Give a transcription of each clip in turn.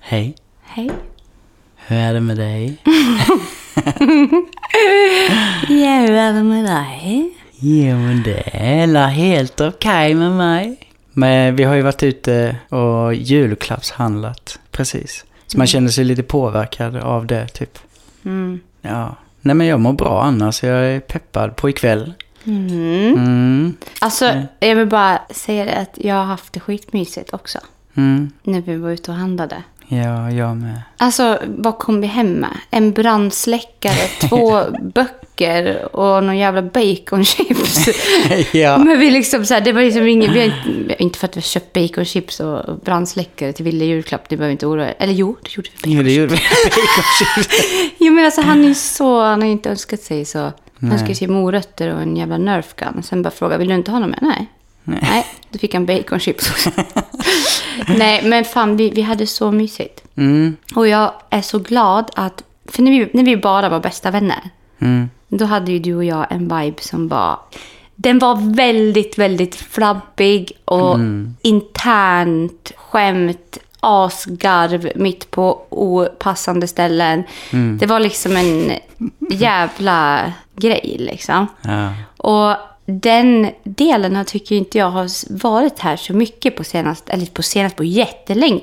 Hej, Hej. hur är det med dig? Ja, hur är det med dig? Jo, men det är la helt okej med mig. Men vi har ju varit ute och julklappshandlat, precis. Så man känner sig lite påverkad av det, typ. Mm. Ja. Nej, men jag mår bra annars. Jag är peppad på ikväll. Mm. Mm, Alltså, jag vill bara säga det att jag har haft det skitmysigt också. mm. När vi var ute och handlade. Ja, jag med. Alltså, vad kom vi hem med? En brandsläckare, två böcker och någon jävla baconchips. ja. Men vi liksom så här, det var liksom inget, vi har inte, inte för att vi har köpt baconchips och brandsläckare till villig julklapp, ni behöver inte oroa er. Eller jo, det gjorde vi. Jo, det gjorde vi. Jo men alltså han är ju så, han har ju inte önskat sig så. Han önskade sig morötter och en jävla nerf gun. Sen bara fråga, vill du inte ha någon mer? Nej. Nej. då fick han baconchips också. Nej, men fan vi, vi hade så mysigt. Mm, Och jag är så glad att, för när vi, när vi bara var bästa vänner, mm. då hade ju du och jag en vibe som var... Den var väldigt, väldigt flabbig och internt skämt, asgarv mitt på opassande ställen. Det var liksom en jävla grej liksom. Ja. Och den delen har- tycker inte jag har s- varit här så mycket på senast, eller på senast på jättelänge.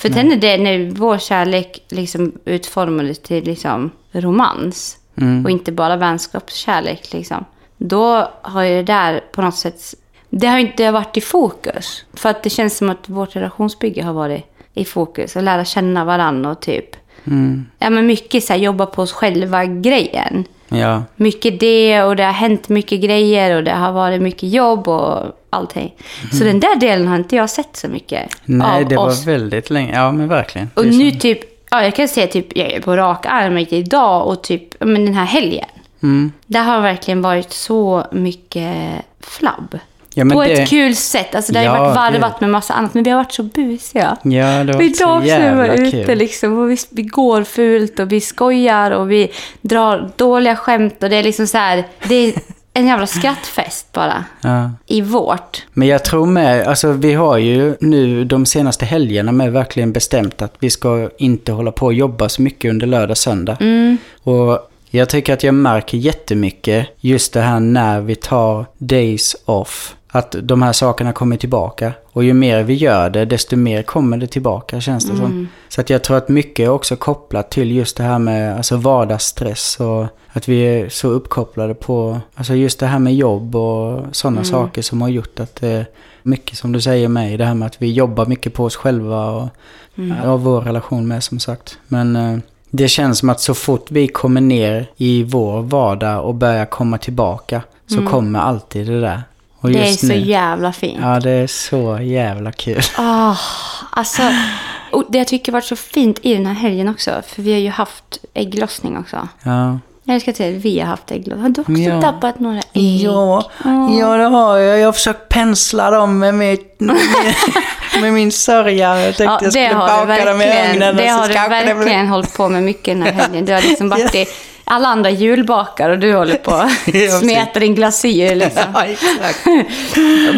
För sen när, det, när vår kärlek liksom utformades till liksom romans och inte bara vänskapskärlek, liksom, då har ju det där på något sätt, det har inte varit i fokus. För att det känns som att vårt relationsbygge har varit i fokus och lära känna varandra och typ, ja men mycket så här jobba på oss själva grejen. Ja. Mycket det och det har hänt mycket grejer och det har varit mycket jobb och allting. Så den där delen har inte jag sett så mycket Mm. Nej, av det oss. var väldigt länge. Ja, men verkligen. Och Det är så. nu typ, ja jag kan säga typ jag är på rak arm idag och typ ja, men den här helgen. Mm. Det har verkligen varit så mycket flabb. Ja, men på det- ett kul sätt. Alltså det har ju Ja, varit varvat gud. med massa annat men vi har varit så busiga. Ja, det Och var så Idag så är jävla vi kul. ute liksom och vi, vi går fult och vi skojar och vi drar dåliga skämt och det är liksom så här, det är en jävla skrattfest bara. Ja. I vårt. Men jag tror med, alltså vi har ju nu de senaste helgerna med verkligen bestämt att vi ska inte hålla på och jobba så mycket under lördag och söndag. Och jag tycker att jag märker jättemycket just det här när vi tar days off. Att de här sakerna kommer tillbaka. Och ju mer vi gör det, desto mer kommer det tillbaka känns det som. Så att jag tror att mycket är också kopplat till just det här med alltså vardagsstress och att vi är så uppkopplade på alltså just det här med jobb och Mm. sådana saker som har gjort att det är mycket som du säger mig, det här med att vi jobbar mycket på oss själva och Mm. ja, vår relation med som sagt. Men eh, det känns som att så fort vi kommer ner i vår vardag och börjar komma tillbaka så kommer alltid det där. Och Mm. Det är just så nu- jävla fint. Ja, det är så jävla kul. Ah, alltså, och det jag tycker varit så fint i den här helgen också, för vi har ju haft ägglossning också. Ja. Jag ska säga att vi har haft ägglossning. Har du också Ja. tappat några ägg? Ja, ja, det har jag. Jag har försökt pensla dem med, mitt, med, med min sörja. Jag tänkte Ja, jag det skulle har du baka dem i verkligen, ugnen. det och så har du kanske det blir- verkligen hållit på med mycket den här helgen. Du har liksom varit i, alla andra julbakar och du håller på precis. att smeta din glasyr liksom. Ja, exakt.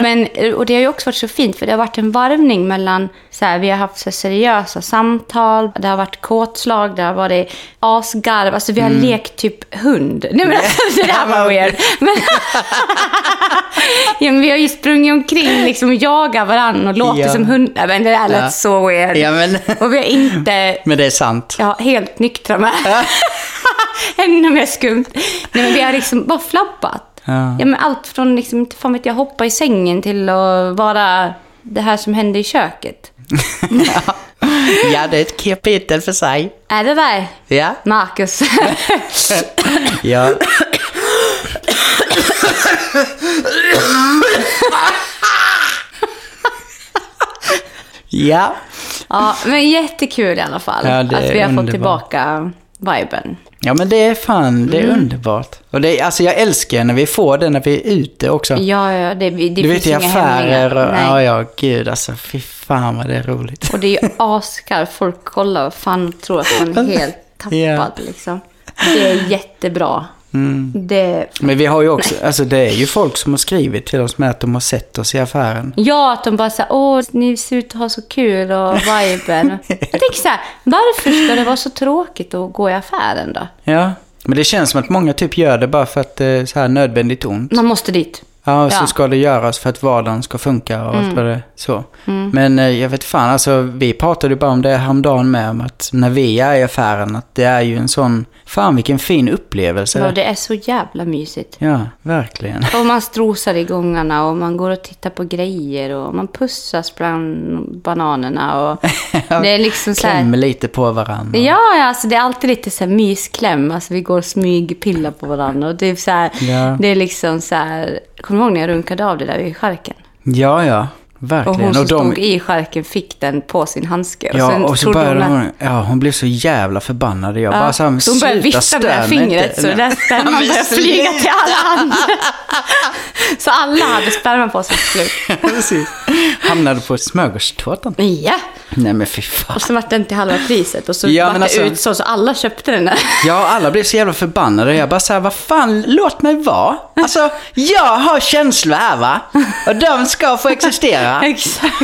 Men, och det har ju också varit så fint, för det har varit en varvning mellan, så här, vi har haft så här seriösa samtal, det har varit kåtslag, det har varit asgarv, alltså vi har Mm. lekt typ hund. Nej men alltså, det här var weird. Men, ja, men vi har ju sprungit omkring liksom, och jagat varandra och låtit Ja. som hundar. Men det där lät Ja. så weird. Ja, men, Och vi har inte men det är sant. ja, helt nyktra med. Ännu mer skumt. Nej, men vi har liksom bara flabbat. Ja. Ja, men allt från liksom, inte fan vet jag, hoppa i sängen till att vara det här som hände i köket. Ja, det är ett kapitel för sig. Är det där, Ja. Marcus? Ja. ja. ja, men jättekul i alla fall Ja, det att är vi har underbart. fått tillbaka viben. Ja men det är fan, det är Mm. underbart. Och det, är- alltså jag älskar när vi får det när vi är ute också. Ja, ja, det, det du finns vet i inga affärer hämningar. och, Nej. ja ja gud alltså fy fan vad det är roligt. Och det är ju askar. Folk kollar och fan tror att man är helt Alltså, tappad. Ja. Mm. Liksom. Det är jättebra. Det, Men vi har ju också, alltså det är ju folk som har skrivit till oss med att de har sett oss i affären. ja, att de bara säger åh, ni ser ut att ha så kul och viben. Jag tänker så här, varför ska det vara så tråkigt att gå i affären då? Ja. Men det känns som att många typ gör det bara för att det är så här nödvändigt ont. Man måste dit. Ja, och så Ja. Mm. ska det göras för att vardagen ska funka och allt vad det så. Men eh, jag vet fan, alltså vi pratade ju bara om det häromdagen med, om att när vi är i affären, att det är ju en sån, fan vilken fin upplevelse. Ja, det är så jävla mysigt. Ja, verkligen. Och man strosar i gångarna och man går och tittar på grejer och man pussas bland bananerna. Och det är liksom så här... Klämmer lite på varandra. Ja, ja, alltså det är alltid lite så här myskläm. Alltså vi går och smygpillar på varandra. Och typ så här, Ja. Det är liksom så här... Kommer du ihåg när jag runkade av det där i skärken? Ja, ja, Och verkligen. hon som stod i alltså, skärken fick den på sin handske. Ja, sen och så trodde började att- hon, ja, hon blev så jävla förbannad. Jag Ja, bara så här, men så hon började sluta vifta med det här stör mig fingret inte. så det där sperman men började flyga till alla andra. så alla hade sperman på sig till slut. Precis. Hamnade på smörgåstårtan. Ja, Nej men fy fan. och så vart den till halva priset och så Ja, vart men det alltså- ut så, så alla köpte den där. Ja, alla blev så jävla förbannade. Jag bara så här, vad fan, låt mig vara. Alltså, jag har känslor här va. Och de ska få existera. Exakt.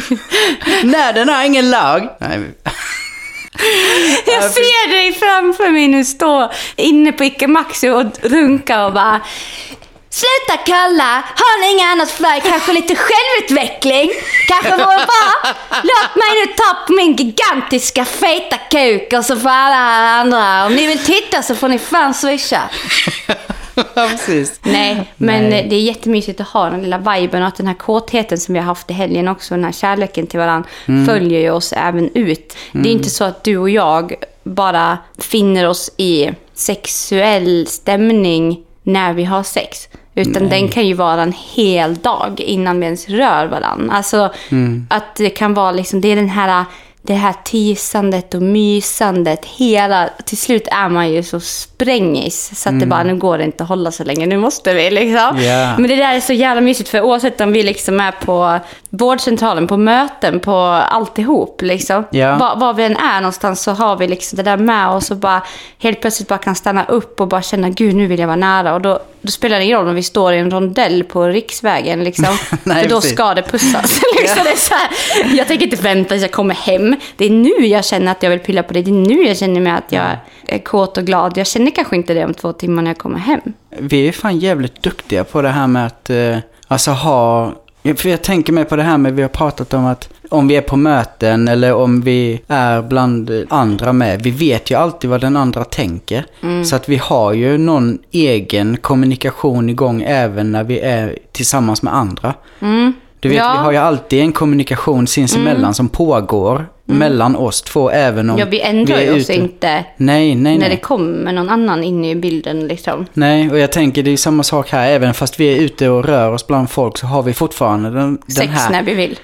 Nöden har ingen lag. Nej, men- Jag ser dig framför mig nu stå inne på Ica Maxi och runka och bara Sluta kalla! Har ni inget annat för er? Kanske lite självutveckling? Kanske vore bra? Låt mig nu ta på min gigantiska feta kuk och så får alla andra... Om ni vill titta så får ni fan swisha. ja, precis. Nej, men Nej. det är jättemysigt att ha den lilla viben och att den här kåtheten som vi har haft i helgen också, den här kärleken till varandra, Mm. följer ju oss även ut. Det är inte så att du och jag bara finner oss i sexuell stämning när vi har sex. Utan den kan ju vara en hel dag innan vi ens rör varandra. Alltså Mm. att det kan vara liksom, det är den här det här tisandet och mysandet. Hela, till slut är man ju så sprängis så att det bara, nu går det inte att hålla så länge, nu måste vi liksom. Ja. Men det där är så jävla mysigt för oavsett om vi liksom är på vårdcentralen, på möten, på alltihop liksom. Ja. Var, var vi än är någonstans så har vi liksom det där med oss och bara helt plötsligt bara kan stanna upp och bara känna, gud nu vill jag vara nära. Och då, då spelar det ingen roll om vi står i en rondell på riksvägen liksom. Nej, för då precis. ska ja, det pussas. liksom det är så här, jag tänker inte vänta tills jag kommer hem. Det är nu jag känner att jag vill pilla på dig. Det är nu jag känner mig att jag är kåt och glad. Jag känner kanske inte det om två timmar när jag kommer hem. Vi är fan jävligt duktiga på det här med att eh, alltså ha... För jag tänker mig på det här med vi har pratat om att om vi är på möten eller om vi är bland andra med. Vi vet ju alltid vad den andra tänker. Mm. Så att vi har ju någon egen kommunikation igång även när vi är tillsammans med andra. Du vet, Mm. Ja. Mm. vi har ju alltid en kommunikation sinsemellan som pågår mellan oss två även om Ja, vi ändrar är ju oss ute. inte Nej, nej, när nej. det kommer någon annan in i bilden. Liksom. Nej, och jag tänker det är samma sak här. Även fast vi är ute och rör oss bland folk så har vi fortfarande den, den Sex här... när vi vill.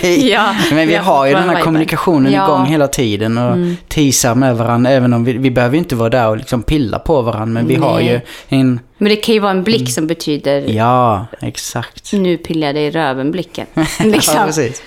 Nej, Ja, men vi vi har har ju den här fortfarande kommunikationen viben. Ja. Mm. igång hela tiden och teasar med varandra. Även om vi, vi behöver ju inte vara där och liksom pilla på varandra, men vi har ju Nej. en... Men det kan ju vara en blick som betyder Mm. Ja, exakt. nu pillar jag dig i röven-blicken. Ja, Mm, Liksom. precis.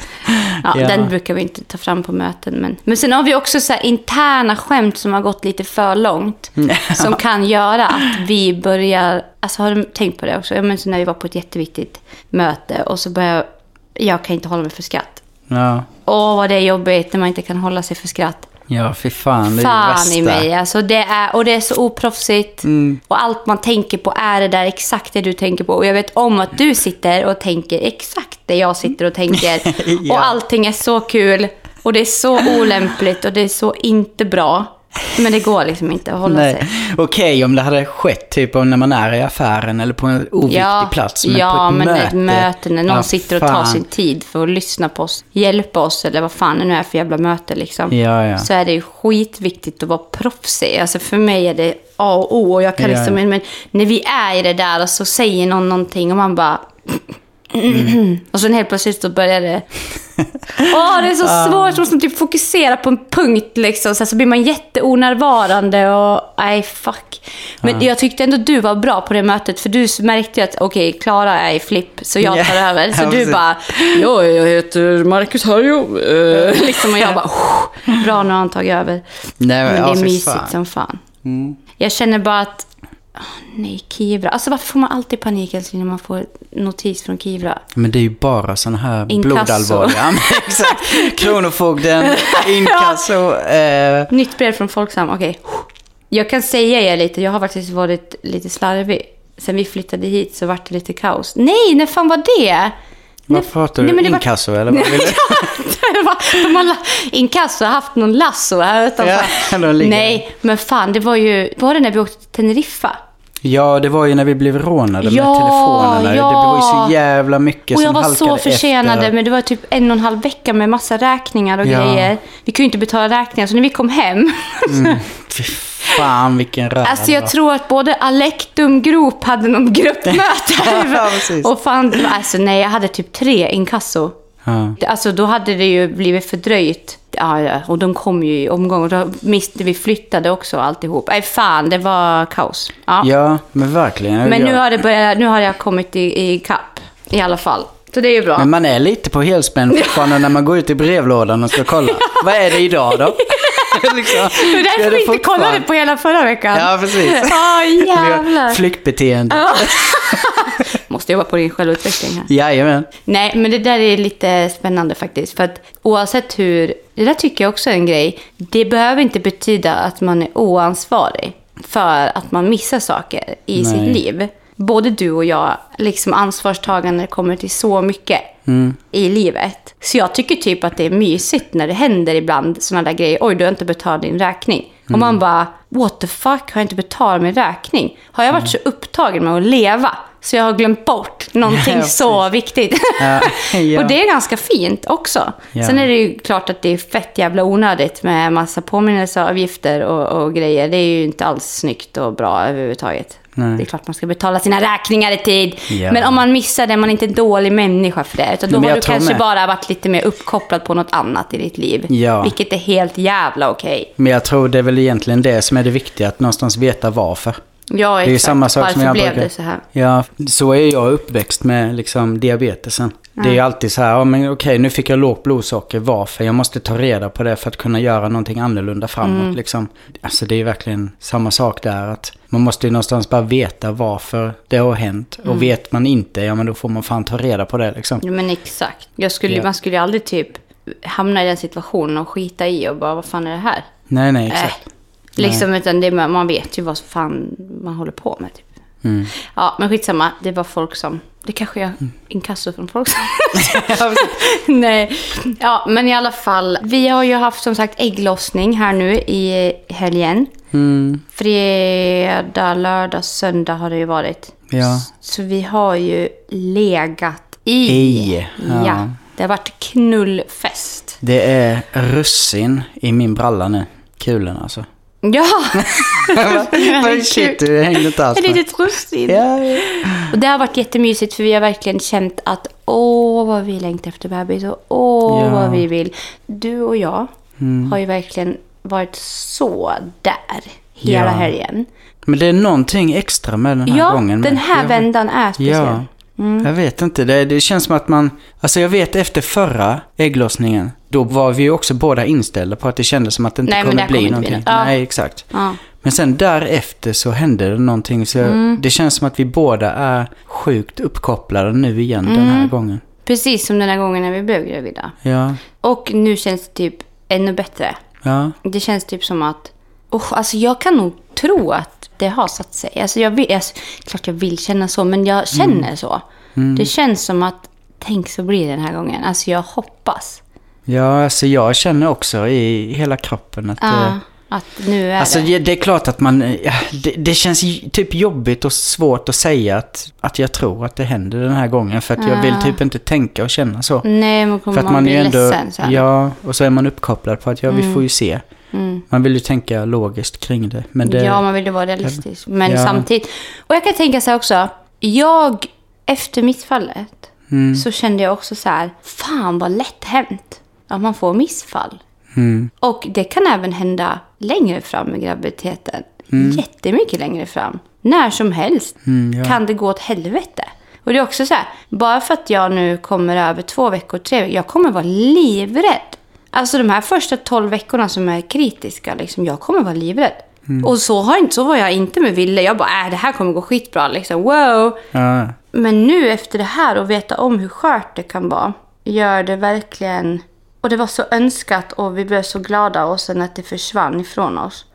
Ja, Ja. Den brukar vi inte ta fram på möten. Men, men sen har vi också så här interna skämt som har gått lite för långt. Som kan göra att vi börjar... Alltså har du tänkt på det också? Ja, men så när vi var på ett jätteviktigt möte och så börjar jag... kan inte hålla mig för skratt. Ja, Åh, vad det är jobbigt när man inte kan hålla sig för skratt. ja fy fan. Det är det Fan värsta. i mig. Alltså det är, och det är så oproffsigt. Mm. Och allt man tänker på är det där exakt det du tänker på. Och jag vet om att du sitter och tänker exakt det jag sitter och tänker. Ja. Och allting är så kul. Och det är så olämpligt och det är så inte bra. Men det går liksom inte att hålla sig. Nej. Okej om det hade skett typ om när man är i affären eller på en oviktig Ja, plats. Men på ja ett men möte, ett möte när någon ja, sitter och tar fan. sin tid för att lyssna på oss, hjälpa oss eller vad fan det nu är för jävla möte liksom. Ja, ja. Så är det ju skitviktigt att vara proffsig. Alltså för mig är det A och O och jag kan Ja, liksom, ja. men när vi är i det där och så säger någon någonting och man bara Mm. och sen helt plötsligt så börjar det... Åh, det är så svårt. Man måste typ fokusera på en punkt liksom. Sen så blir man jätteonärvarande och... Nej, fuck. Men jag tyckte ändå du var bra på det mötet. För du märkte ju att okej, Klara är i flipp, så jag tar Ja, över. Så ja, du precis. bara... Ja, jag heter Marcus Harjo. eh, liksom, och jag bara... "Oh, bra, nu har han tagit över. Nej, men, Men det ja, är fy mysigt fan. som fan. Jag känner bara att Nej, Kivra. Alltså varför får man alltid panik älskling, när man får notis från Kivra? Men det är ju bara sådana här Inkasso. blodallvarliga. Ja, men Exakt. Kronofogden, inkasso. Eh, Nytt brev från Folksam, okej. Jag kan säga er lite, jag har faktiskt varit lite slarvig. Sen vi flyttade hit så vart det lite kaos. Nej, när fan var det? vad pratar du? Nej, men det var- inkasso eller vad vill du? Det var- De har la- inkasso har haft någon lasso här utanför. Ja, de ligger. Nej, men fan, det var ju... Var det när vi åkte till Teneriffa? Ja, det var ju när vi blev rånade Ja, med telefonerna. Det ja. var ju så jävla mycket Och som jag var så halkade försenade, efter. men det var typ en och en halv vecka med massa räkningar och Ja. grejer. Vi kunde ju inte betala räkningar, så när vi kom hem... Mm. Fy fan vilken röra alltså det jag var. tror att både Alektum Grop hade någon gruppmöte Ja, här. precis. och fan, alltså nej, jag hade typ tre inkasso. Ja. Alltså då hade det ju blivit fördröjt. Ja, ja, och de kom ju i omgång och då miste vi flyttade också och alltihop. Nej, fan, det var kaos. Ja. ja, men verkligen. Men Ja. nu har, det börjat, nu har jag kommit i, i kapp i alla fall. Så det är ju bra. Men man är lite på helspänn fortfarande när man går ut i brevlådan och ska kolla. Vad är det idag då? liksom, Det är därför är det vi inte fortfarande- kollade på hela förra veckan. Ja, precis. Ja, Vi har jävlar. Flyktbeteende. Måste jobba på din självutveckling här. Jajamän. Nej, men det där är lite spännande faktiskt. För att oavsett hur, det där tycker jag också är en grej. Det behöver inte betyda att man är oansvarig för att man missar saker i Nej. sitt liv. Både du och jag, liksom ansvarstagande när det kommer till så mycket Mm. i livet. Så jag tycker typ att det är mysigt när det händer ibland sådana där grejer. Oj, du har inte betalat din räkning. Och Mm. man bara, what the fuck, har jag inte betalat min räkning? Har jag varit Mm. så upptagen med att leva så jag har glömt bort någonting Ja, så viktigt? Ja, ja. Och det är ganska fint också. Ja. Sen är det ju klart att det är fett jävla onödigt med massa påminnelseavgifter och, och grejer. Det är ju inte alls snyggt och bra överhuvudtaget. Nej. Det är klart man ska betala sina räkningar i tid. Ja. Men om man missar det, man är inte en dålig människa för det. Utan då Men har jag du tror kanske med. bara varit lite mer uppkopplad på något annat i ditt liv. Ja. Vilket är helt jävla okej. Men jag tror det är väl egentligen det som är det viktiga, att någonstans veta varför. Ja, Det exakt. är ju samma sak Varför som jag blev brukar... det så här? Ja, så är jag uppväxt med liksom diabetesen. Det är ju alltid så här, ja men okej nu fick jag lågt blodsocker, varför? Jag måste ta reda på det för att kunna göra någonting annorlunda framåt liksom. Alltså det är ju verkligen samma sak där att man måste ju någonstans bara veta varför det har hänt. Och vet man inte, ja men då får man fan ta reda på det liksom. Ja, men exakt. Jag skulle, Ja. Man skulle ju aldrig typ hamna i den situationen och skita i och bara, vad fan är det här? Nej, nej, exakt. Äh. Liksom, utan det, man vet ju vad fan man håller på med. Typ. Mm. Ja, men skitsamma. Det var folk som... Det kanske jag inkasso från folk som... Nej. Ja, men i alla fall. Vi har ju haft som sagt ägglossning här nu i helgen. Mm. Fredag, lördag, söndag har det ju varit. Ja. Så vi har ju legat i. I, Ja. ja. Det har varit knullfest. Det är russin i min bralla nu. Kulen alltså. Ja! Men shit, du hängde inte alls Ett med. litet russin. Alltså- Ja, ja. Och det har varit jättemysigt för vi har verkligen känt att åh vad vi längtar efter bebis och åh Ja. Mm. vad vi vill. Du och jag har ju verkligen varit så där hela Ja. helgen. Men det är någonting extra med den här ja, gången. med. den här Jag- vändan är speciell. Ja. Mm. Jag vet inte, det, det känns som att man... Alltså jag vet efter förra ägglossningen, då var vi ju också båda inställda på att det kändes som att det inte Nej, men kommer där bli kommer inte bli någonting. något. Ja. Nej, exakt. Ja. Men sen därefter så hände det någonting, så jag, Mm. det känns som att vi båda är sjukt uppkopplade nu igen den Mm. här gången. Precis som den här gången när vi blev gravida. Ja, Och nu känns det typ ännu bättre. ja. Det känns typ som att... Oh, alltså jag kan nog tro att det har satt sig. Alltså jag vill, alltså, klart jag vill känna så, men Mm. jag känner så. Det känns som att, tänk så blir det den här gången. Alltså jag hoppas Ja, alltså jag känner också i hela kroppen att... eh, ah, att nu är Alltså det. det det är klart att man, eh, det, det känns ju typ jobbigt och svårt att säga att, att jag tror att det händer den här gången för att jag vill typ inte tänka och känna så. Nej, men kommer För att Mm. man, man bli är ändå, ledsen sen. ja, och så är man uppkopplad på att ja, Mm. vi får ju se. Man vill ju tänka logiskt kring det. Men det, Ja, man vill ju vara realistisk. Men Ja. samtidigt. Och jag kan tänka så här också. Jag, efter missfallet, Mm. så kände jag också så här. Fan vad lätt hänt att man får missfall. Och det kan även hända längre fram i graviditeten. Jättemycket längre fram. När som helst kan det gå åt helvete. Och det är också så här, bara för att jag nu kommer över två veckor, tre veckor, jag kommer vara livrädd. Alltså de här första tolv veckorna som är kritiska, liksom, jag kommer vara livrädd. Och så, har, inte- så var jag inte med Ville. Jag bara, äh, det här kommer gå skitbra liksom. Wow! Ja. Men nu efter det här och veta om hur skört det kan vara, gör det verkligen... Och det var så önskat och vi blev så glada och sen att det försvann ifrån oss.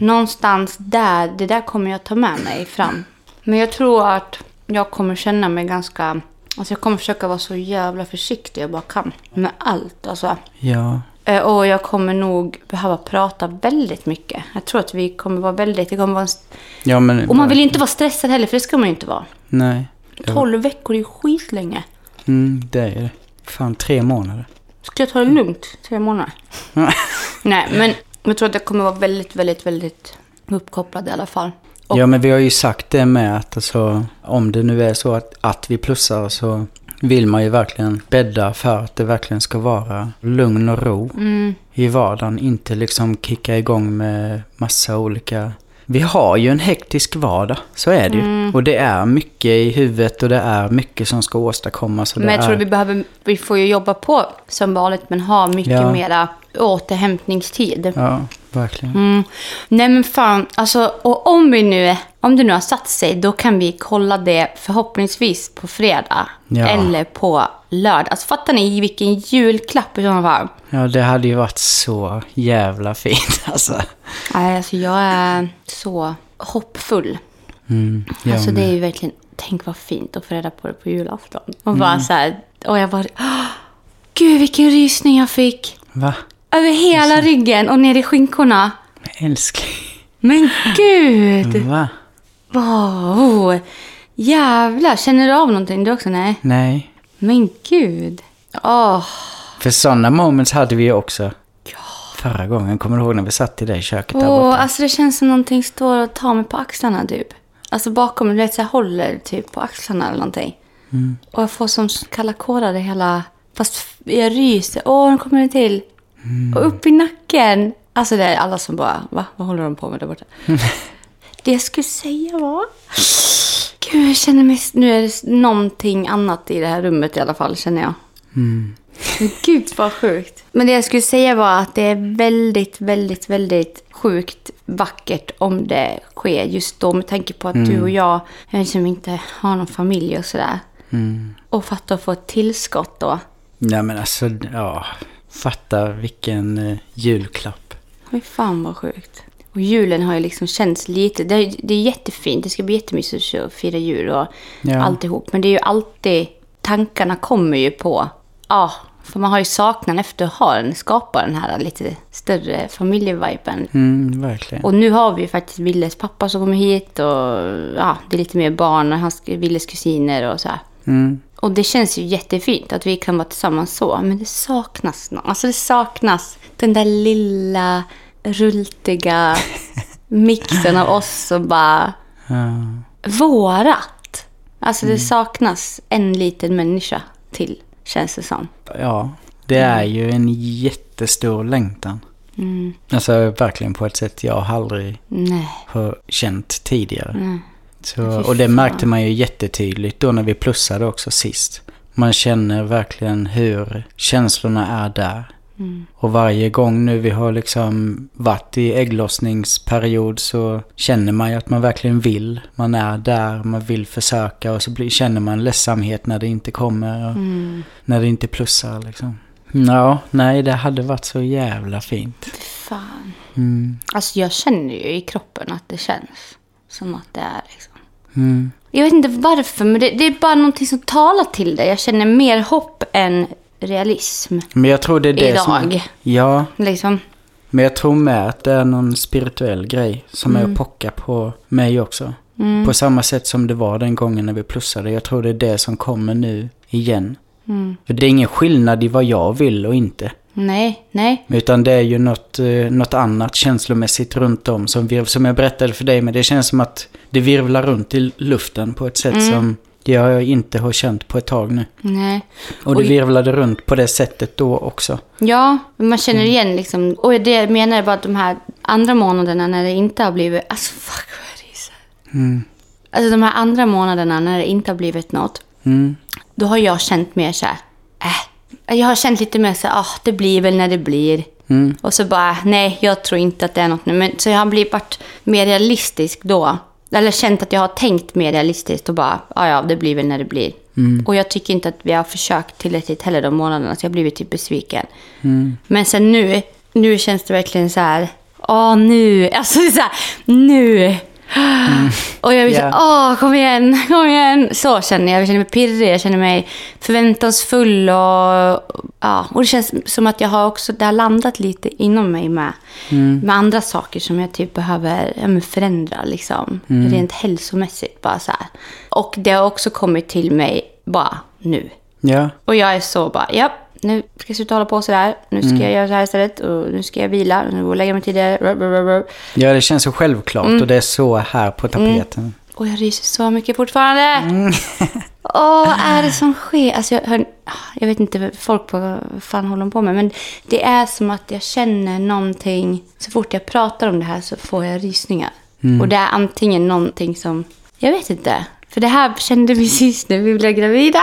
Någonstans där, det där kommer jag ta med mig fram. Men jag tror att jag kommer känna mig ganska... Alltså jag kommer försöka vara så jävla försiktig jag bara kan. Med allt alltså. ja. Eh, Och jag kommer nog behöva prata väldigt mycket. Jag tror att vi kommer vara väldigt... Det kommer vara en... st- Ja, men... Och man vill ju inte vara stressad heller, för det ska man ju inte vara. Nej. 12 veckor är ju skitlänge. Mm, det är det. Fan, tre månader. Ska jag ta det lugnt tre månader? Nej, men jag tror att jag kommer vara väldigt, väldigt, väldigt uppkopplad i alla fall. Och, Ja, men vi har ju sagt det med att alltså, om det nu är så att, att vi plussar så vill man ju verkligen bädda för att det verkligen ska vara lugn och ro Mm. i vardagen. Inte liksom kicka igång med massa olika... Vi har ju en hektisk vardag, så är det ju. Mm. Och det är mycket i huvudet och det är mycket som ska åstadkommas. Och men det jag tror är... vi behöver, vi får ju jobba på som vanligt, men ha mycket Ja. mera återhämtningstid. Ja, verkligen. Mm. Nej men fan, alltså, och om vi nu, om det nu har satt sig, då kan vi kolla det förhoppningsvis på fredag. Ja. Eller på lördag. Alltså fattar ni vilken julklapp i sådana fall? Ja, det hade ju varit så jävla fint alltså. Nej, alltså jag är så hoppfull. Mm, jag alltså det med. är ju verkligen, tänk vad fint att få reda på det på julafton. Och Mm. bara så här, och jag bara, "Åh, gud vilken rysning jag fick. Va? Över hela ryggen och ner i skinkorna. Älskling. Men gud! Va? Wow! Jävlar, känner du av någonting du också? Nej. Nej. Men gud! Åh! För sådana moments hade vi ju också. Förra gången, kommer du ihåg när vi satt i det i köket där Åh, borta? alltså det känns som någonting står och tar mig på axlarna typ. Alltså bakom, du vet så här, håller typ på axlarna eller någonting. Mm. Och jag får som kalla kårar i hela... Fast f- jag ryser. Åh, nu kommer det till. Mm. Och upp i nacken. Alltså det är alla som bara, va? Vad håller de på med där borta? det jag skulle säga var... Gud, jag känner mig... Nu är det någonting annat i det här rummet i alla fall, känner jag. Gud vad sjukt. Men det jag skulle säga var att det är väldigt, väldigt, väldigt sjukt vackert om det sker just då med tanke på att du och jag, jag som inte har någon familj och sådär. Och fatta att få ett tillskott då. Nej men alltså, ja. Fatta vilken eh, julklapp. Fy fan vad sjukt. Och julen har ju liksom känts lite, det är, det är jättefint, det ska bli jättemysigt att fira jul och Ja. alltihop. Men det är ju alltid, tankarna kommer ju på, ja, för man har ju saknan efter att ha den, skapa den här lite större familjeviben. Mm, verkligen. Och nu har vi ju faktiskt Willes pappa som kommer hit och ja, det är lite mer barn och hans, Willes kusiner och så här. Mm. Och det känns ju jättefint att vi kan vara tillsammans så, men det saknas någon. Alltså det saknas den där lilla rultiga mixen av oss och bara Ja. Mm. vårat. Alltså det saknas en liten människa till, känns det som. ja, det är ju en jättestor längtan. Mm. Alltså verkligen på ett sätt jag aldrig Nej. har känt tidigare. Mm. Så, och det märkte man ju jättetydligt då när vi plussade också sist. Man känner verkligen hur känslorna är där. Mm. Och varje gång nu vi har liksom varit i ägglossningsperiod så känner man ju att man verkligen vill. Man är där, man vill försöka och så blir, känner man ledsamhet när det inte kommer och Mm. när det inte plussar liksom. Ja, nej det hade varit så jävla fint. Fan. Mm. Alltså jag känner ju i kroppen att det känns som att det är liksom. Mm. Jag vet inte varför, men det, det är bara någonting som talar till det. Jag känner mer hopp än realism. Men jag tror det är det som... Idag. Ja, Liksom. Men jag tror med att det är någon spirituell grej som är att pocka på mig också. På samma sätt som det var den gången när vi plussade. Jag tror det är det som kommer nu igen. För det är ingen skillnad i vad jag vill och inte. Nej, nej. Utan det är ju något, eh, något annat känslomässigt runt om som, virv, som jag berättade för dig. Men det känns som att det virvlar runt i luften på ett sätt som jag inte har känt på ett tag nu. Nej. Och det virvlade runt på det sättet då också. Ja, men man känner Mm. igen liksom. Och det jag menar är bara att de här andra månaderna när det inte har blivit... Alltså fuck vad jag ryser. Alltså de här andra månaderna när det inte har blivit något. Mm. Då har jag känt mer så här... Äh. Jag har känt lite mer så här, ah, det blir väl när det blir. Mm. Och så bara, nej, jag tror inte att det är något nu. Men, så jag har blivit varit mer realistisk då. Eller känt att jag har tänkt mer realistiskt och bara, ja, ja, det blir väl när det blir. Mm. Och jag tycker inte att vi har försökt tillräckligt heller de månaderna, så jag har blivit typ besviken. Mm. Men sen nu, nu känns det verkligen så här, åh nu, alltså det är så här, nu. Och jag blir så Mm. Ja. här, Åh, kom igen, kom igen. Så känner jag. Jag känner mig pirrig, jag känner mig förväntansfull och, ja, och det känns som att jag har också, det har landat lite inom mig med. Med andra saker som jag typ behöver ja, men förändra liksom. Rent hälsomässigt bara så här. Och det har också kommit till mig bara nu. Ja. Och jag är så bara, ja, nu ska jag sluta hålla på sådär. Nu ska jag göra så här istället. Och nu ska jag vila. Och nu går jag lägga mig tidigare. Ruh, ruh, ruh, ruh. ja, det känns så självklart och det är så här på tapeten. Mm. Och jag ryser så mycket fortfarande. Mm. Åh, vad är det som sker? Alltså jag, hör, jag vet inte vad folk på vad fan håller de på med. Men det är som att jag känner någonting. Så fort jag pratar om det här så får jag rysningar. Mm. Och det är antingen någonting som... Jag vet inte. För det här kände vi sist när vi blev gravida.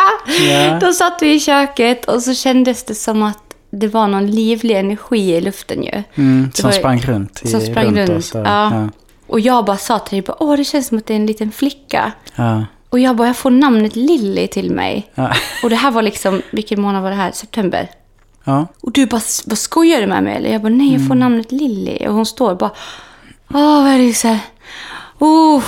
Ja. Då satt vi i köket och så kändes det som att det var någon livlig energi i luften ju. Mm, Det som var- sprang runt. i- Som sprang runt. oss där. ja. Ja. Och jag bara sa till dig, bara, åh det känns som att det är en liten flicka. Ja. Och jag bara, jag får namnet Lilly till mig. Ja. Och det här var liksom, vilken månad var det här? September. Ja. Och du bara, "S- vad skojar du med mig? Eller jag bara, nej Mm. jag får namnet Lilly. Och hon står bara, åh vad är det så här? Oh.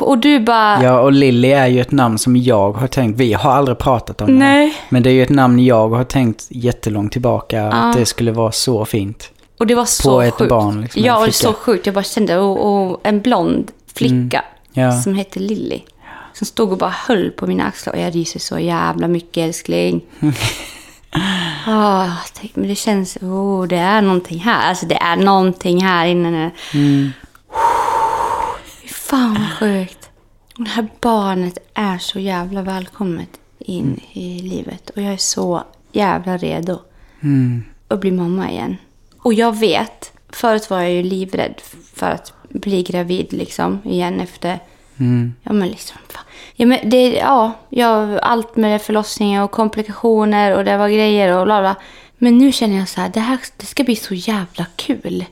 Och du bara, ja, och Lilly är ju ett namn som jag har tänkt. Vi har aldrig pratat om det. här. nej. Men det är ju ett namn jag har tänkt jättelångt tillbaka Ah. att det skulle vara så fint. Och det var så ett sjukt. barn, liksom, en ja, och det var flicka. så sjukt. Jag bara kände, och, och en blond flicka Mm, Ja. som hette Lilly. Som stod och bara höll på mina axlar och jag ryser så jävla mycket älskling. Ah, tänk, men det känns, oh, det är någonting här. Alltså det är någonting här inne nu. Mm. Fy Fan vad sjukt. Och det här barnet är så jävla välkommet in Mm. i livet. Och jag är så jävla redo att bli mamma igen. Och jag vet, förut var jag ju livrädd för att bli gravid liksom igen efter... Ja men liksom... fan. Ja, men det, ja jag, allt med det förlossningar och komplikationer och det var grejer och bla bla. Men nu känner jag så här, det här det ska bli så jävla kul.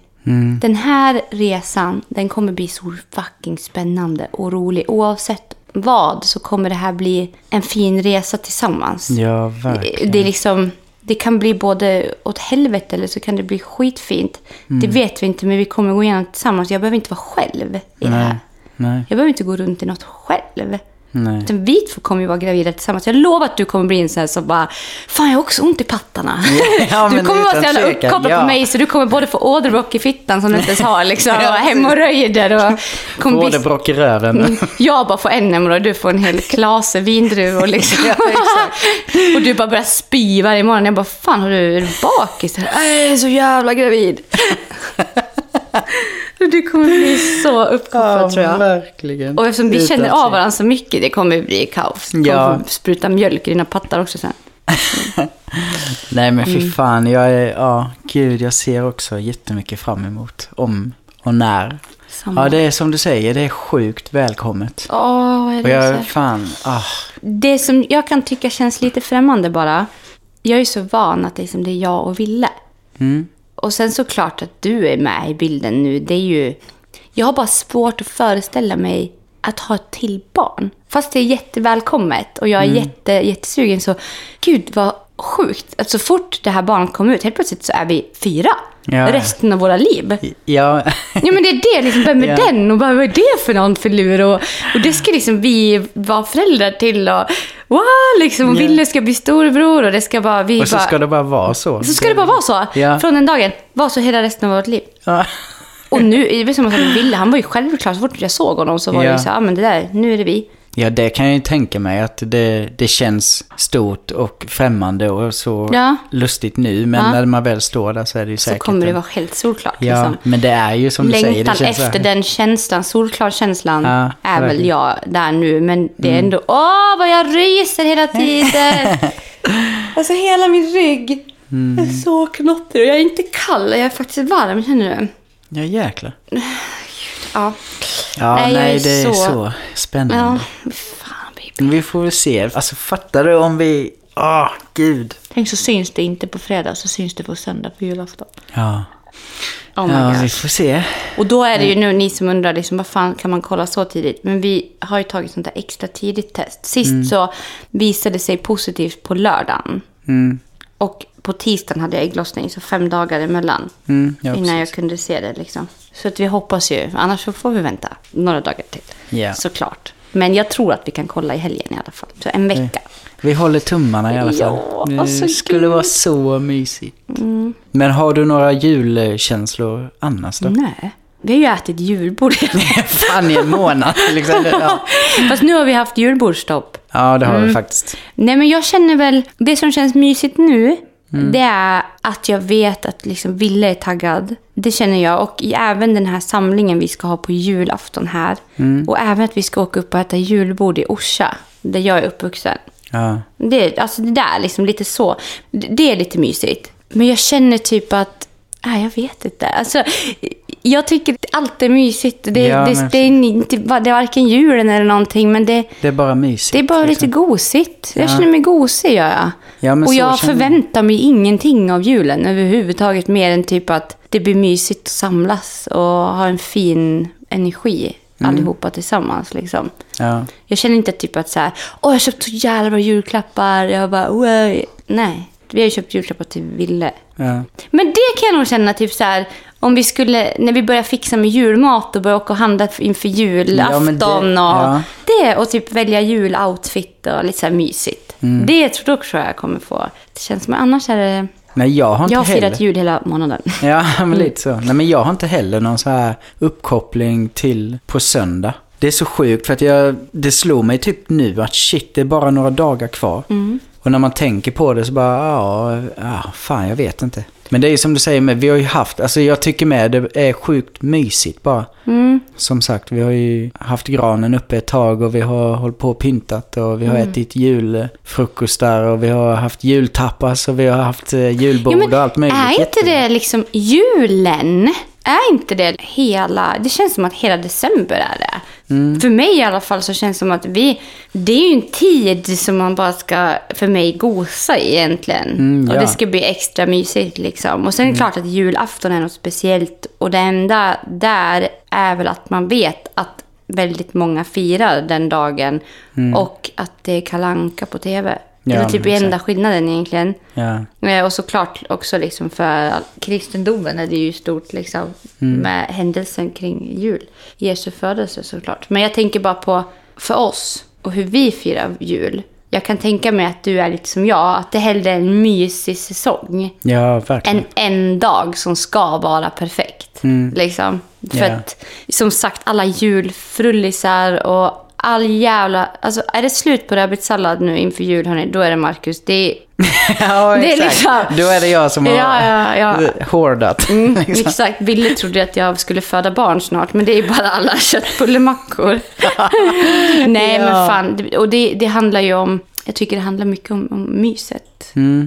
Den här resan, den kommer bli så fucking spännande och rolig. Oavsett vad så kommer det här bli en fin resa tillsammans. Ja, verkligen. Det, är liksom, det kan bli både åt helvete eller så kan det bli skitfint. Mm. Det vet vi inte, men vi kommer gå igenom det tillsammans. Jag behöver inte vara själv i det Nej. här. Nej. Jag behöver inte gå runt i något själv. Nej. Utan vi två kommer ju vara gravida tillsammans. Jag lovar att du kommer bli en sån här som bara, fan jag har också ont i pattarna. Ja, du men kommer vara så utan jävla tvekan, uppkopplad ja. på mig så du kommer både få åderbråck i fittan som du inte ens har liksom. Och hemorrojder och kommer bli Både brock i Mm. röven. jag bara får en hemorrojd, du får en hel klase vindruvor liksom. och du bara börjar spy varje morgon. Jag bara, fan har du, är du bakis? Jag är så jävla gravid. du kommer bli så uppkopplad tror jag. verkligen. Och eftersom vi Utan känner av tvekan. varandra så mycket, det kommer bli kaos. Du Ja. kommer få spruta mjölk i dina pattar också sen. Nej men Mm. fy fan, jag är, ja, gud jag ser också jättemycket fram emot om och när. Samma. Ja det är som du säger, det är sjukt välkommet. Åh, vad är Och det så här? jag, fan, ah, Det som jag kan tycka känns lite främmande bara. Jag är ju så van att det är, som det är jag och Ville. Och sen såklart att du är med i bilden nu. Det är ju... Jag har bara svårt att föreställa mig att ha ett till barn. Fast det är jättevälkommet och jag är jätte, jättesugen så... Gud vad sjukt att så fort det här barnet kom ut, helt plötsligt så är vi fyra. Ja. Resten av våra liv. ja, Ja men det är det, liksom, vem är Ja. den och vad vad är det för någon förlur? Och, och det ska liksom vi vara föräldrar till och wow, liksom, och Ville ska bli storbror och det ska bara, vi och så bara, ska det bara vara så. så ska det bara vara så. Ja. Från den dagen, var så hela resten av vårt liv. Ja. Och nu, det är väl som att Ville, han var ju självklart, så fort jag såg honom så var Ja. det ju så, ja men det där, nu är det vi. Ja det kan jag ju tänka mig att det, det känns stort och främmande och så Ja. lustigt nu. Men Ja. när man väl står där så är det ju Så säkert. kommer det en- vara helt solklart. Ja, Liksom. men det är ju som du säger. Längtan Det känns så här. efter den känslan, solklar känslan, Ja, är väl verkligen. Mm. jag där nu. Men det är ändå, åh vad jag ryser hela tiden. alltså hela min rygg Mm. är så knottrig. Och jag är inte kall, jag är faktiskt varm, känner du? Ja jäklar. Ja. Ja nej, Nej, jag är det är så, så- spännande. ja. Fan, baby. Men Vi får väl se. Alltså fattar du om vi Åh, gud. Tänk så syns det inte på fredag, så syns det på söndag på julafton. Ja. Oh my ja, vi gosh. får se. Och då är det Mm. ju nu ni som undrar, liksom, vad fan kan man kolla så tidigt? Men vi har ju tagit sånt där extra tidigt test. Sist Mm. så visade det sig positivt på lördagen. Mm. Och på tisdagen hade jag ägglossning, så fem dagar emellan. Mm, ja, innan jag precis. kunde se det liksom. Så att vi hoppas ju, annars så får vi vänta några dagar till. Ja. Såklart. Men jag tror att vi kan kolla i helgen i alla fall. Så en vecka. Vi håller tummarna i alla fall. Ja, det alltså, skulle gud. Mm. vara så mysigt. Men har du några julkänslor annars då? Nej. Vi har ju ätit julbord. Fan i en månad till exempel. Liksom, Ja, Fast nu har vi haft julbordstopp. ja det har Mm. vi faktiskt. Nej, men jag känner väl... Det som känns mysigt nu, Mm. det är att jag vet att liksom Ville är taggad. Det känner jag. Och i- även den här samlingen vi ska ha på julafton här. Mm. Och även att vi ska åka upp och äta julbord i Orsa, där jag är uppvuxen. Ja. Det, alltså det där, liksom lite så. Det, det är lite mysigt. Men jag känner typ att, nej jag vet inte. Alltså, jag tycker att allt är mysigt. Det, Ja, det, men- det, är inte, det är varken julen eller någonting, men det, Det är bara mysigt. det är bara lite gosigt. Jag känner mig gosig, gör jag. Ja, men och så jag känner jag. förväntar mig ingenting av julen överhuvudtaget, mer än typ att det blir mysigt att samlas och ha en fin energi Mm. allihopa tillsammans. Liksom. Ja. Jag känner inte typ att så här, åh jag har köpt så jävla bra julklappar. Jag bara, wow. Nej, vi har ju köpt julklappar till Ville. Ja. Men det kan jag nog känna typ så här, om vi skulle, när vi börjar fixa med julmat och börjar åka och handla inför julafton Ja, men det- och ja. det och typ välja juloutfit och lite så här mysigt. Mm. Det tror jag, tror jag kommer få. Det känns som, annars är det, Nej, jag har inte jag har heller. firat jul hela månaden. Ja, men lite så. Nej, men jag har inte heller någon så här uppkoppling till på söndag. Det är så sjukt för att jag, det slog mig typ nu att shit, det är bara några dagar kvar. Mm. Och när man tänker på det så bara, ja, ja, fan jag vet inte. Men det är ju som du säger, med, vi har ju haft, alltså jag tycker med det är sjukt mysigt bara. Mm. Som sagt, vi har ju haft granen uppe ett tag och vi har hållit på och pyntat och vi har Mm. ätit julfrukostar och vi har haft jultapas och vi har haft eh, julbord och allt möjligt. Är inte Jättemysigt. det liksom julen? Är inte det hela... Det känns som att hela december är det. Mm. För mig i alla fall så känns det som att vi... Det är ju en tid som man bara ska, för mig, gosa i egentligen. Mm, ja. Mm. Och det ska bli extra mysigt liksom. Och sen är det klart att julafton är något speciellt. Och det enda där är väl att man vet att väldigt många firar den dagen. Och att det är kalanka på tv. Mm. Ja, det är typ men enda skillnaden egentligen. Ja. Eh, Och såklart också liksom för all- kristendomen är det ju stort liksom Mm. med händelsen kring jul. Jesu födelse såklart. Men jag tänker bara på för oss och hur vi firar jul. Jag kan tänka mig att du är lite som jag, att det hellre är en mysig säsong Ja, verkligen. än en dag som ska vara perfekt. Liksom. För Mm. Ja. att, som sagt, alla julfrullisar och all jävla... Alltså, är det slut på rabbitsallad nu inför jul, hörni, då är det Marcus. Det är ja, det är exakt. liksom- Då är det jag som har Ja, ja, ja. Mm, hårdat. Liksom. Exakt. Ville trodde att jag skulle föda barn snart, men det är bara alla köttbullemackor. Nej, men fan. Det- Och det, det handlar ju om... Jag tycker det handlar mycket om, om myset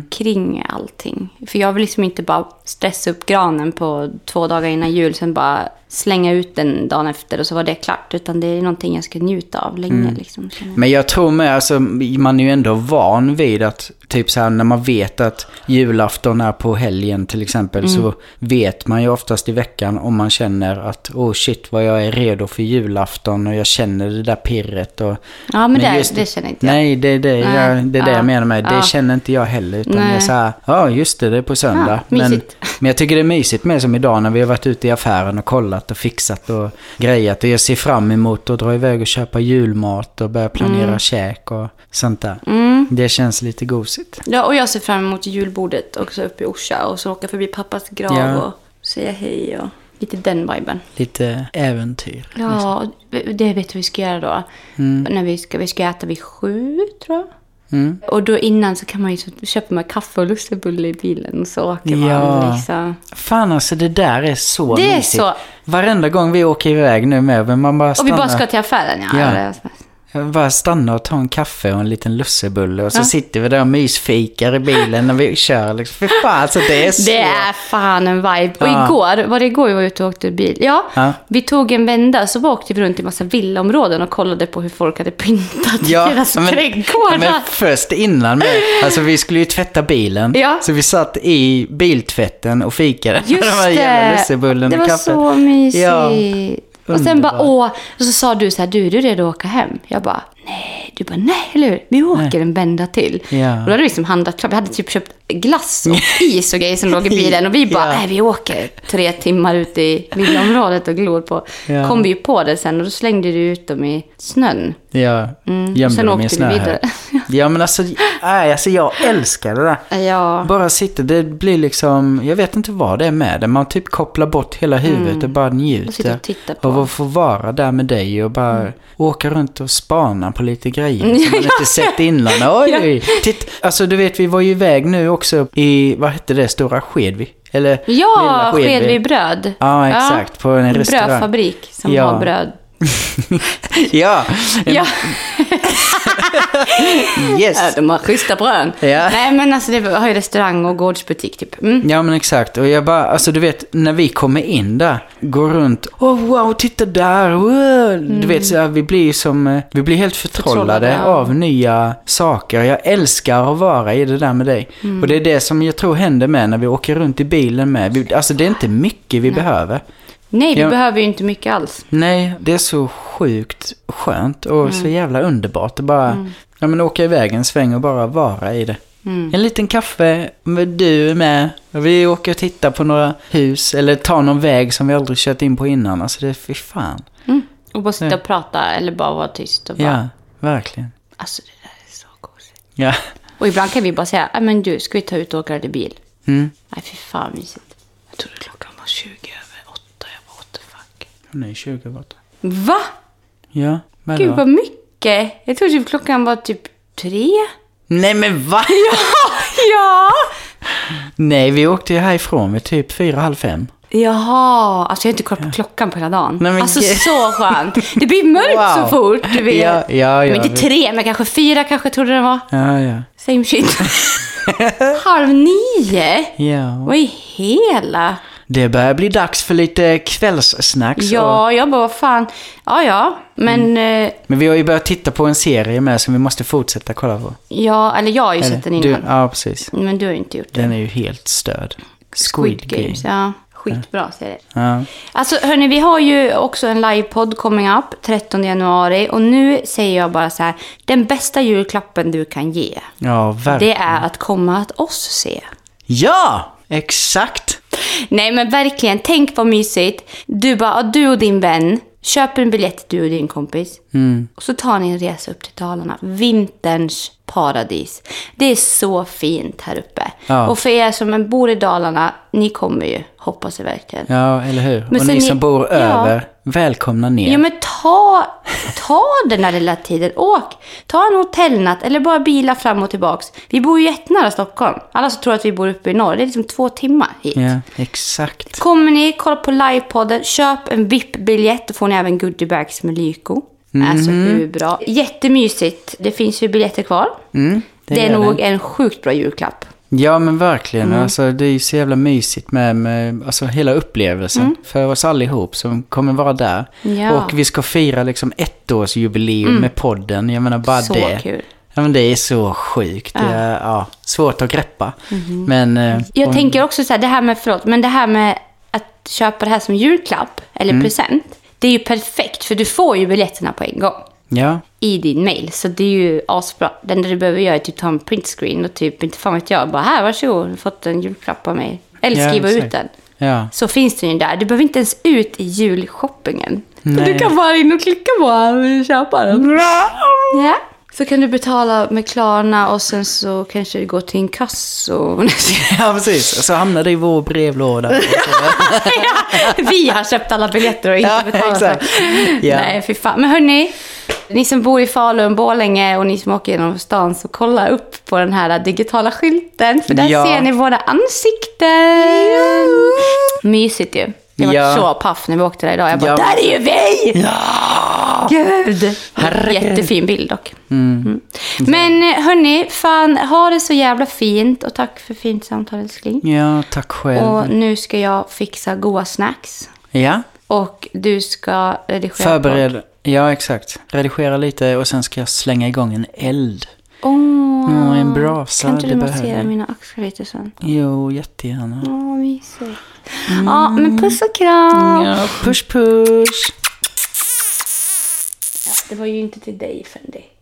kring allting. För jag vill liksom inte bara stressa upp granen på två dagar innan jul, sen bara slänga ut den dagen efter och så var det klart. Utan det är någonting jag ska njuta av länge. Liksom, känner jag. Men jag tror med, alltså, man är ju ändå van vid att, typ så här när man vet att julafton är på helgen till exempel, Mm. så vet man ju oftast i veckan om man känner att, oh shit vad jag är redo för julafton och jag känner det där pirret och... ja, men, det, just- det känner inte jag. Nej, det är det, jag, det, är det Ja. jag menar med. Det Ja. känner inte jag heller. Utan Nej. jag är så här, ja just det, det är på söndag. Ja, men, mysigt. men jag tycker det är mysigt med som idag när vi har varit ute i affären och kollat och fixat och grejat. Och jag ser fram emot att dra iväg och köpa julmat och börja planera Mm. käk och sånt där. Det känns lite gosigt. Ja, och jag ser fram emot julbordet också uppe i Orsa och så åka förbi pappas grav Ja. och säga hej och lite den viben. Lite äventyr. Ja, det vet vi ska göra då. När vi, ska, vi ska äta vid sju, tror jag. Och då innan så kan man ju så, köpa med kaffe och lussebulle i bilen och så åker Ja. man. Liksom. Fan alltså det där är så Det är mysigt. så- Varenda gång vi åker iväg nu med, men man bara Och vi stannar. bara ska till affären, ja. Ja. Eller- alltså. Jag bara stanna och ta en kaffe och en liten lussebulle och så Ja. sitter vi där och mysfikar i bilen när vi kör. Liksom. För fan, alltså det är så. Det är fan en vibe. Och Ja. igår, var det igår vi var ute och åkte bil? Ja, Ja. vi tog en vända så åkte vi runt i massa villaområden och kollade på hur folk hade pyntat Ja, typ deras men- trädgårdar. Men först innan med, alltså vi skulle ju tvätta bilen. Ja. Så vi satt i biltvätten och fikade med Just de här det! jävla lussebullen det och var kaffet. så mysigt. Ja, och sen underbart. bara, åh, och så sa du så här, du, är du redo att åka hem? Jag bara, nej. Du bara, nej, eller hur? Vi åker en vända till. Ja. Och då hade vi liksom handlat klart. Vi hade typ köpt glass och is och grejer som låg i bilen. Och vi bara, Ja. nej, vi åker tre timmar ute i villaområdet och glor på. Ja. Kom vi ju på det sen och då slängde du ut dem i snön. Ja, Mm. och gömde sen dem i åkte vi snö här. vidare. Ja, men alltså, nej, alltså jag älskar det där. Ja, Bara sitta, det blir liksom, jag vet inte vad det är med det. Man typ kopplar bort hela huvudet och bara Mm. Och sitter njuter och tittar på. Mm. av att få vara där med dig och bara åka runt och spana på lite grejer som man inte sett innan. Oj, titt, alltså du vet vi var ju iväg nu också i, vad hette det, Stora Skedvi? Eller ja Lilla Skedvi bröd. Ja, exakt, på en restaurang. Brödfabrik som Ja. har bröd. ja, Ja. Ja, yes. de har schyssta brön. Ja. Nej, men alltså det har ju restaurang och gårdsbutik typ. Mm. Ja men exakt. Och jag bara, alltså du vet, när vi kommer in där, går runt, oh wow, titta där, wow. Du vet, så här, vi blir ju som, eh, vi blir helt förtrollade Förtrollade, ja. av nya saker. Jag älskar att vara i det där med dig. Mm. Och det är det som jag tror händer med när vi åker runt i bilen med. Vi, alltså det är inte mycket vi behöver. Nej, vi Ja. behöver ju inte mycket alls. Nej, det är så sjukt skönt och Mm. så jävla underbart att bara ja, men åka iväg en sväng och bara vara i det. Mm. En liten kaffe, med du är med. Vi åker och tittar på några hus eller tar någon väg som vi aldrig kört in på innan. Alltså det är fy fan. Mm. Och bara sitta och prata eller bara vara tyst och bara, Ja, verkligen. alltså det där är så gosigt. Ja, Och ibland kan vi bara säga, "Ja, men du, ska vi ta ut och åka lite bil? Mm. Nej, fy fan mysigt. Jag trodde klockan var 20 över 8, jag bara, what the fuck. hon är 20 borta. Va? Ja, men Gud då? vad mycket. Jag trodde typ klockan var typ tre. Nej men va? Ja! Nej, vi åkte ju härifrån vid typ fyra, halv fem. Jaha, alltså jag har inte kollat på klockan på hela dagen. Nej, men alltså gud. så skönt. Det blir mörkt Wow. så fort, du vet. Ja, ja, ja. men inte tre, men kanske fyra kanske trodde den var. Ja, ja. Same shit. Halv nio? Ja. Vad i hela? Det börjar bli dags för lite kvällssnacks. och- Ja, jag bara, vad fan. Ja, ja, men... eh, Men vi har ju börjat titta på en serie med som vi måste fortsätta kolla på. Ja, eller jag har ju sett den du, innan. ja, precis. Men du har ju inte gjort det. Den är ju helt störd. Squid Games, ja. Skitbra serie. Ja. Alltså hörni, vi har ju också en livepodd coming up 13 januari och nu säger jag bara så här, den bästa julklappen du kan ge, ja, verkligen. det är att komma att oss se. Ja! Exakt! Nej men verkligen, tänk vad mysigt. Du bara, ja, du och din vän, köper en biljett du och din kompis. Mm. Och så tar ni en resa upp till Dalarna. Vinterns paradis. Det är så fint här uppe. Ja. Och för er som bor i Dalarna, ni kommer ju, hoppas jag verkligen. Ja, eller hur? Men och sen ni ni- som bor ja. över, välkomna ner. Ja, men ta, ta den här lilla tiden. Åk! Ta en hotellnatt eller bara bila fram och tillbaks. Vi bor ju jättenära Stockholm. Alla som tror att vi bor uppe i norr, det är liksom två timmar hit. Ja, exakt. Kommer ni, kolla på livepodden, köp en VIP-biljett. Då får ni även goodiebags med Lyko. Alltså hur bra? Jättemysigt. Det finns ju biljetter kvar. det det, är gör nog en sjukt bra julklapp. Ja, men verkligen. Mm. Alltså, det är ju så jävla mysigt med, med alltså, hela upplevelsen för oss allihop som kommer vara där. Mm. Ja. Mm. Och vi ska fira liksom ettårsjubileum med podden. Jag menar bara Så det. kul. Ja, men det är så sjukt. Det är, ja, svårt att greppa. Men eh, Mm-hmm. Jag tänker också så här, det här med, förlåt, men det här med att köpa det här som julklapp eller present. Det är ju perfekt, för du får ju biljetterna på en gång ja, i din mail. Så det är ju asbra. Det enda du behöver göra är typ ta en printscreen och typ, inte fan vet jag, bara här, varsågod, du har fått en julklapp av mig. Eller Ja, skriva exakt. ut den. ja. Så finns den ju där. Du behöver inte ens ut i julshoppingen. Nej. Du kan bara in och klicka på den och köpa den. Ja. Så kan du betala med Klarna och sen så kanske du går till inkasso. Ja, precis. Så hamnar det i vår brevlåda. Vi har köpt alla biljetter och inte Ja, betalat exakt. dem. Ja. Nej, fy fan. Men hörni, ni som bor i Falun, Borlänge och ni som åker genom stan, så kolla upp på den här digitala skylten. För där Ja. ser ni våra ansikten. Mysigt ju. Jag var Ja. så paff när vi åkte där idag. Jag bara, Ja. där är ju vi! Gud! Herregud. Jättefin bild dock. Mm. Men eh, hörni, fan, ha det så jävla fint och tack för fint samtal älskling. Ja, tack själv. Och nu ska jag fixa goa snacks. Ja, Och du ska redigera. förbered. Ja, exakt. Redigera lite och sen ska jag slänga igång en eld. Åh, Ja, en brasa, Kan inte det du behöver massera vi. mina axlar lite sen? Jo, jättegärna. Åh, mysigt. Ja, men puss och Mm. kram. Ja, push push. Ja, det var ju inte till dig, Fendi.